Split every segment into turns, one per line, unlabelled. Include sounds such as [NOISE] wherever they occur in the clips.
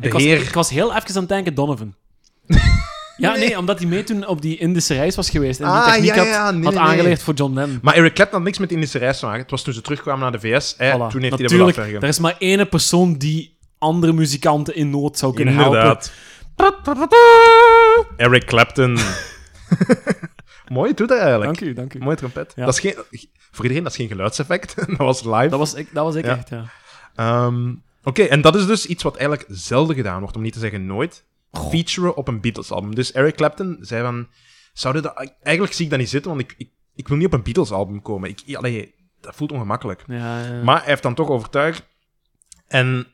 Ik was,
Beheer.
ik was heel even aan het denken
[LAUGHS]
Donovan. ja, nee. omdat hij mee toen op die Indische reis was geweest. En die
Ah,
techniek
ja, ja,
had,
ja, nee,
had
nee, nee.
aangeleerd voor John Lennon.
Maar Eric Clapton had niks met de Indische reis te maken. Het was toen ze terugkwamen naar de VS.
Voilà.
Hè, Toen heeft hij dat wel
Natuurlijk,
afgelegd.
er is maar één persoon die andere muzikanten in nood zou kunnen helpen.
Inderdaad. Eric
[LAUGHS]
Clapton. Mooi doet hij eigenlijk.
Dank u, dank u.
Mooi trompet.
Ja.
Dat is geen, voor iedereen, dat is geen geluidseffect. [LAUGHS] dat was live.
Dat was ik, dat was ik
Ja.
echt, ja.
Ehm, Oké, en dat is dus iets wat eigenlijk zelden gedaan wordt, om niet te zeggen nooit. Featuren op een Beatles-album. Dus Eric Clapton zei van... Zouden dat, eigenlijk zie ik dat niet zitten, want ik, ik, ik wil niet op een Beatles-album komen. Ik, allee, dat voelt ongemakkelijk.
ja, ja.
Maar hij heeft dan toch overtuigd. En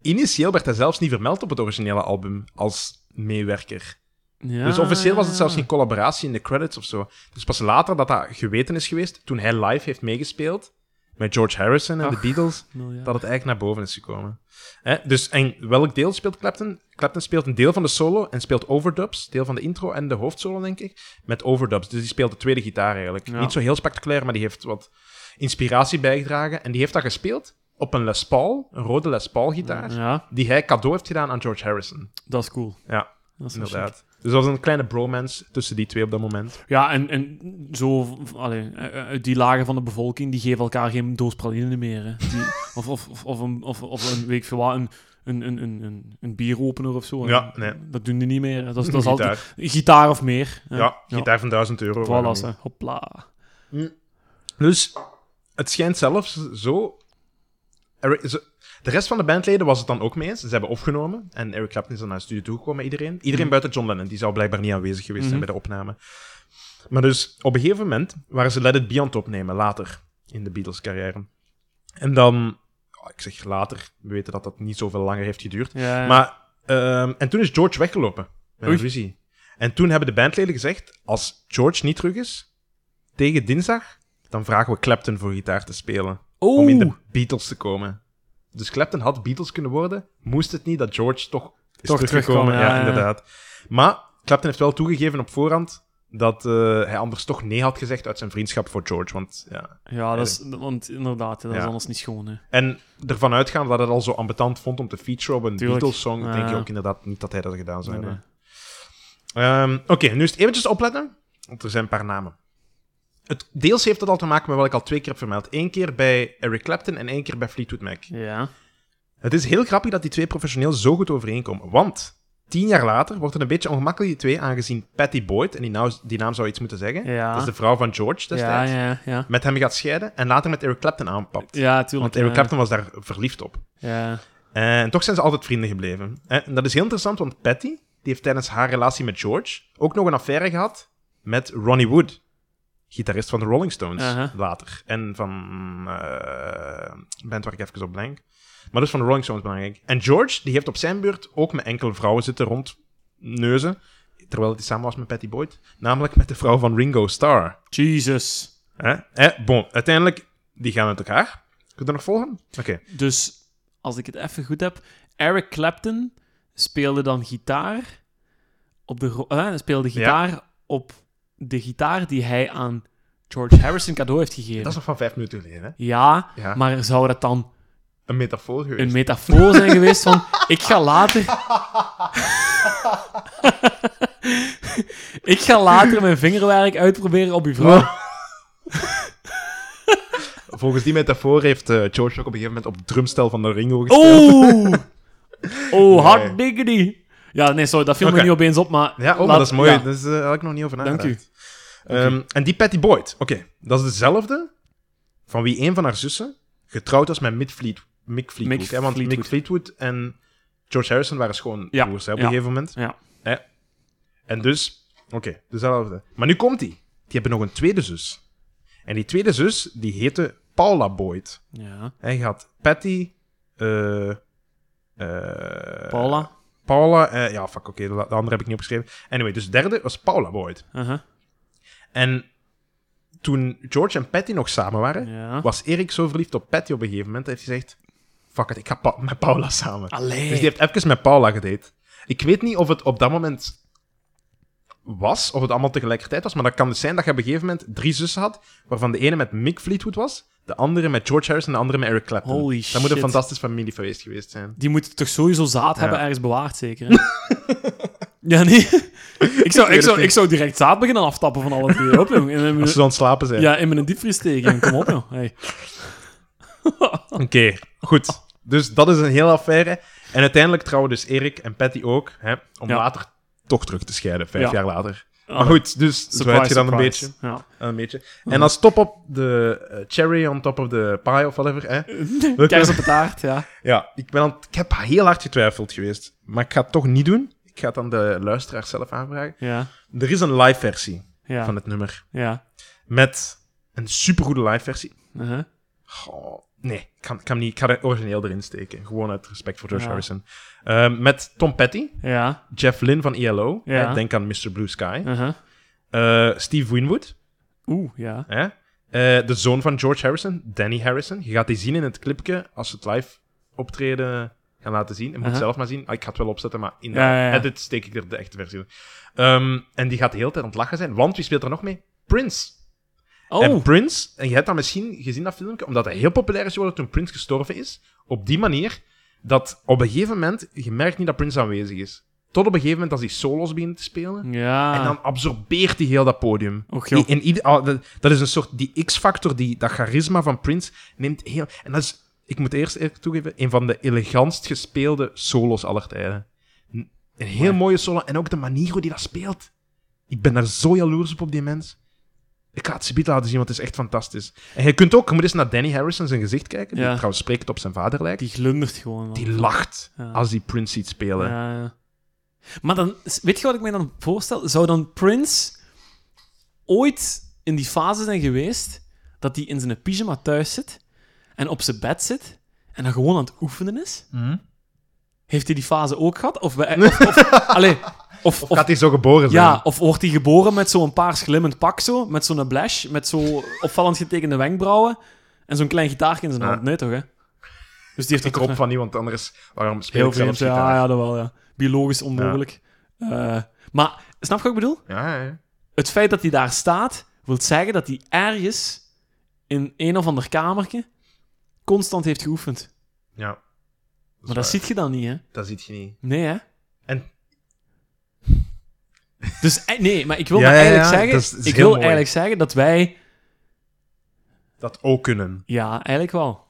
initieel werd hij zelfs niet vermeld op het originele album als meewerker.
Ja,
dus officieel was het
ja.
zelfs geen collaboratie in de credits of zo. Dus pas later dat dat geweten is geweest, toen hij live heeft meegespeeld met George Harrison en de
Ach.
Beatles,
Miljard.
dat het eigenlijk naar boven is gekomen. Hè? Dus en welk deel speelt Clapton? Clapton speelt een deel van de solo en speelt overdubs, deel van de intro en de hoofdsolo, denk ik, met overdubs. Dus die speelt de tweede gitaar eigenlijk.
Ja.
Niet zo heel spectaculair, maar die heeft wat inspiratie bijgedragen. En die heeft dat gespeeld op een Les Paul, een rode Les Paul gitaar,
Ja,
die hij cadeau heeft gedaan aan George Harrison.
dat is cool.
Ja,
Dat is wel chic.
inderdaad. Dus dat was een kleine bromance tussen die twee op dat moment.
Ja, en, en zo, v- allee, eh, eh, die lagen van de bevolking, die geven elkaar geen doos praline meer. Hè.
[LAUGHS]
Die, of, of, of, of, een, of, of een, weet ik veel wat, een, een, een, een, een, een bieropener of zo. hè.
Ja, nee.
Dat doen die niet meer. hè. Dat is, dat is
Gitaar.
altijd gitaar of meer. hè.
Ja, gitaar van 1000 euro. waarom
Voilà,
niet?
hè. hopla.
Dus het schijnt zelfs zo. Eric- ze- de rest van de bandleden was het dan ook mee eens. Ze hebben opgenomen. En Eric Clapton is dan naar de studio toegekomen, iedereen. Iedereen buiten John Lennon. Die zou blijkbaar niet aanwezig geweest zijn bij de opname. Maar dus, op een gegeven moment waren ze Let It Be aan het opnemen, later in de Beatles-carrière. En dan... oh, ik zeg later, we weten dat dat niet zoveel langer heeft geduurd.
Ja, ja.
Maar, ehm, en toen is George weggelopen met een
Eh. Oei.
ruzie. En toen hebben de bandleden gezegd, als George niet terug is, tegen dinsdag, dan vragen we Clapton voor gitaar te spelen. Om in de
Oeh.
Beatles te komen. Dus Clapton had Beatles kunnen worden, moest het niet dat George toch is
Toch
teruggekomen.
terugkwam,
Ja,
ja, ja.
inderdaad. Maar Clapton heeft wel toegegeven op voorhand dat eh, hij anders toch nee had gezegd uit zijn vriendschap voor George. Want, ja.
Ja, dat is, want inderdaad, hè, dat
Ja.
is anders niet schoon. Hè.
En ervan uitgaan dat hij het al zo ambetant vond om te featuren op een
Tuurlijk.
Beatles-song, denk je
Ja.
ook inderdaad niet dat hij dat gedaan zou
Nee,
hebben. Ehm, Oké, nu is het eventjes opletten, want er zijn een paar namen. Het, deels heeft dat al te maken met wat ik al twee keer heb vermeld. Eén keer bij Eric Clapton en één keer bij Fleetwood Mac.
Ja.
Het is heel grappig dat die twee professioneel zo goed overeenkomen. Want tien jaar later wordt het een beetje ongemakkelijk, die twee, aangezien Patty Boyd, en die, nou, die naam zou iets moeten zeggen,
Ja.
dat is de vrouw van George
Ja,
destijds,
ja, ja.
met hem gaat scheiden en later met Eric Clapton aanpakt.
Ja, tuurlijk.
Want Eric
ja.
Clapton was daar verliefd op.
Ja.
En toch zijn ze altijd vrienden gebleven. En dat is heel interessant, want Patty die heeft tijdens haar relatie met George ook nog een affaire gehad met Ronnie Wood. Gitarist van de Rolling Stones,
Aha.
later. En van... eh band waar ik even op blank. Maar dus van de Rolling Stones belangrijk. En George, die heeft op zijn beurt ook met enkele vrouwen zitten rondneuzen. Terwijl hij samen was met Patty Boyd. Namelijk met de vrouw van Ringo Starr.
Jesus.
Hè? Eh, bon, uiteindelijk, die gaan uit elkaar. Kun je dat nog volgen? Oké.
Dus als ik het even goed heb, Eric Clapton speelde dan gitaar op de ro- eh, speelde gitaar op de gitaar die hij aan George Harrison cadeau heeft gegeven.
Dat is nog van vijf minuten geleden, hè?
Ja,
Ja.
maar zou dat dan
Een metafoor geweest.
een metafoor zijn geweest
[LAUGHS]
van ik ga later [LAUGHS] ik ga later mijn vingerwerk uitproberen op uw vrouw.
[LAUGHS] Volgens die metafoor heeft eh, George ook op een gegeven moment op het drumstel van de Ringo gespeeld.
Oh! Oh, hard
Nee.
diggity. Ja, nee, sorry, dat viel
Oké.
me niet opeens op, maar...
Ja, oh, maar
laat-
dat is mooi.
ja.
Daar is, eh, had ik nog niet over
Dank
nagedacht.
u.
Ehm, En die Patty Boyd, oké, dat is dezelfde van wie een van haar zussen getrouwd was met Mick Fleet, Mick Fleetwood.
Mick
hè, want Mick
Fleetwood.
Fleetwood en George Harrison waren schoonbroers hè, op een
ja.
gegeven moment.
Ja.
Hè? En dus, oké, dezelfde. Maar nu komt die. Die hebben nog een tweede zus. En die tweede zus, die heette Paula Boyd.
Ja.
Hij gaat Patty, eh, eh,
Paula.
Paula, eh, ja, fuck, oké, de, de andere heb ik niet opgeschreven. Anyway, dus de derde was Paula Boyd.
Aha.
En toen George en Patty nog samen waren,
Ja.
was Erik zo verliefd op Patty op een gegeven moment, dat hij heeft gezegd, fuck it, ik ga pa- met Paula samen.
Allee.
Dus die heeft even met Paula gedate. Ik weet niet of het op dat moment was, of het allemaal tegelijkertijd was, maar dat kan dus zijn dat je op een gegeven moment drie zussen had, waarvan de ene met Mick Fleetwood was, de andere met George Harrison en de andere met Eric Clapton.
Holy
dat
shit.
moet een fantastisch familiefeest geweest zijn.
Die moeten toch sowieso zaad hebben
Ja.
ergens bewaard, zeker? hè? [LAUGHS] ja, nee. ik, zou, ik,
het
zou,
niet.
ik zou direct zaad beginnen aftappen van alle drie. Op, jong. In mijn,
Als ze dan aan het slapen zijn.
ja, in mijn diepvries tegen. Kom op, joh. Hey.
Oké, goed. Dus dat is een hele affaire. En uiteindelijk trouwen dus Erik en Patty ook, hè, om
Ja.
later toch terug te scheiden, vijf
Ja.
jaar later.
Ah,
Maar goed, dus zo heb je dan een beetje.
surprise. Ja.
Een beetje. En als top op de eh, cherry on top of the pie of whatever.
[LAUGHS]
Hè? Welke-
Kers op de taart, ja.
Ja, ik, ben aan het- ik heb heel hard getwijfeld geweest. Maar ik ga het toch niet doen. Ik ga het aan de luisteraar zelf aanvragen.
Ja,
Er is een live versie
ja,
van het nummer.
ja.
Met een supergoede live versie.
Uh-huh.
Goh, nee, ik kan, ik kan niet. Ik ga het origineel erin steken. Gewoon uit respect voor George
Ja.
Harrison. Ehm, met Tom Petty,
Ja,
Jeff Lynne van E ILO.
Ja.
hè, Eh, denk aan Mr. Blue Sky.
uh-huh.
Eh, Steve Winwood.
Oeh, ja.
Hè? Eh, de zoon van George Harrison, Danny Harrison. Je gaat die zien in het clipje als ze het live optreden gaan laten zien. Je moet
Aha.
zelf maar zien. Ah, ik ga het wel opzetten, maar in de
Ja, ja, ja.
edit steek ik er de echte versie in. Ehm, en die gaat de hele tijd aan het lachen zijn, want wie speelt er nog mee? Prince. En
Oh,
Prince, en je hebt dat misschien gezien, dat filmpje, omdat hij heel populair is geworden toen Prince gestorven is. Op die manier dat op een gegeven moment, je merkt niet dat Prince aanwezig is. Tot op een gegeven moment als hij solos begint te spelen.
ja.
En dan absorbeert hij heel dat podium.
Och,
Die-
joh.
in ieder, ah, dat, dat is een soort... Die X-factor, die, dat charisma van Prince, neemt heel... En dat is, ik moet eerst eerlijk toegeven, een van de elegantst gespeelde solos aller tijden. Een, een heel mooie solo. En ook de manier hoe hij dat speelt. Ik ben daar zo jaloers op, op die mens. Ik ga het subiet laten zien, want het is echt fantastisch. En je kunt ook... Je moet eens naar Danny Harrison zijn gezicht kijken. Die
Ja.
trouwens spreekt op zijn vader lijkt.
Die glundert gewoon. dan.
Die lacht
Ja.
als die Prince ziet spelen.
Ja, ja. Maar dan, weet je wat ik mij dan voorstel? Zou dan Prince ooit in die fase zijn geweest dat hij in zijn pyjama thuis zit en op zijn bed zit en dan gewoon aan het oefenen is?
Mhm.
Heeft hij die fase ook gehad? Of, we- eh, of, of, [LAUGHS] allee, of, of-
Gaat hij zo geboren zijn?
ja, of wordt hij geboren met zo'n paars glimmend pak zo, met zo'n blash, met zo opvallend getekende wenkbrauwen en zo'n klein gitaartje in zijn
Ja.
hand? Nee, toch, hè? Dus die heeft er
Ik
toch
hoop van niet, want anders... Waarom speel
Heel
ik zelf
vreemd, ja,
gitaar?
ja, dat wel, ja. Biologisch onmogelijk. Eh, maar, snap je wat ik bedoel?
Ja, ja.
Het feit dat hij daar staat, wil zeggen dat hij ergens in een of ander kamertje constant heeft geoefend.
ja.
Maar dat ziet je dan niet, hè?
dat ziet je niet.
Nee, hè?
En-
Dus, eh, nee, maar ik wil
Ja,
maar
ja, ja,
eigenlijk zeggen...
dat is- dat is
ik
heel
wil
mooi.
eigenlijk zeggen dat wij...
Dat ook kunnen.
Ja, eigenlijk wel.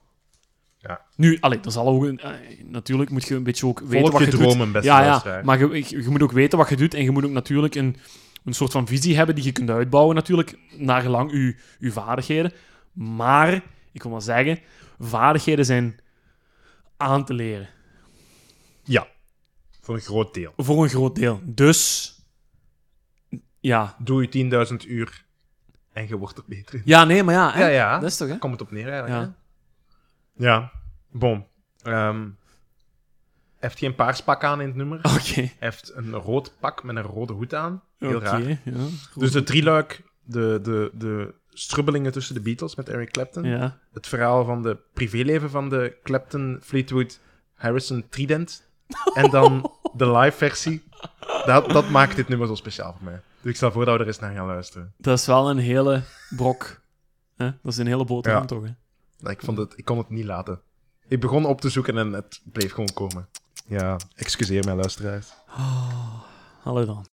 Ja.
Nu, allee, er zal ook een- eh, natuurlijk moet je een beetje ook weten
Volg
wat
je
je doet.
dromen, beste
ja, ja,
luisteraar.
maar je, je- je moet ook weten wat je doet en je moet ook natuurlijk een, een soort van visie hebben die je kunt uitbouwen natuurlijk, naar gelang je, je vaardigheden. Maar, ik wil maar zeggen, vaardigheden zijn aan te leren.
Ja. Voor een groot deel.
Voor een groot deel. Dus, ja.
Doe je 10.000 uur en je wordt er beter in.
Ja, nee, maar ja. hè?
Ja, ja.
Dat is toch, hè?
Daar komt het op neer
Ja.
eigenlijk. Ja. ja. Bom. Ehm, heeft geen paars pak aan in het nummer. Hij
Oké.
heeft een rood pak met een rode hoed aan. Heel
Oké,
raar.
ja. Goed.
Dus de drieluik, de, de, de strubbelingen tussen de Beatles met Eric Clapton.
Ja.
Het verhaal van de privéleven van de Clapton, Fleetwood, Harrison Trident. En dan de live versie. Dat, dat maakt dit nummer zo speciaal voor mij. Dus ik stel voor dat we er eens naar gaan luisteren.
Dat is wel een hele brok. hè? Dat is een hele boterham,
Ja.
toch? Hè?
Nou, Ik, vond het, ik kon het niet laten. Ik begon op te zoeken en het bleef gewoon komen. Ja, excuseer mij, luisteraars.
Hallo dan.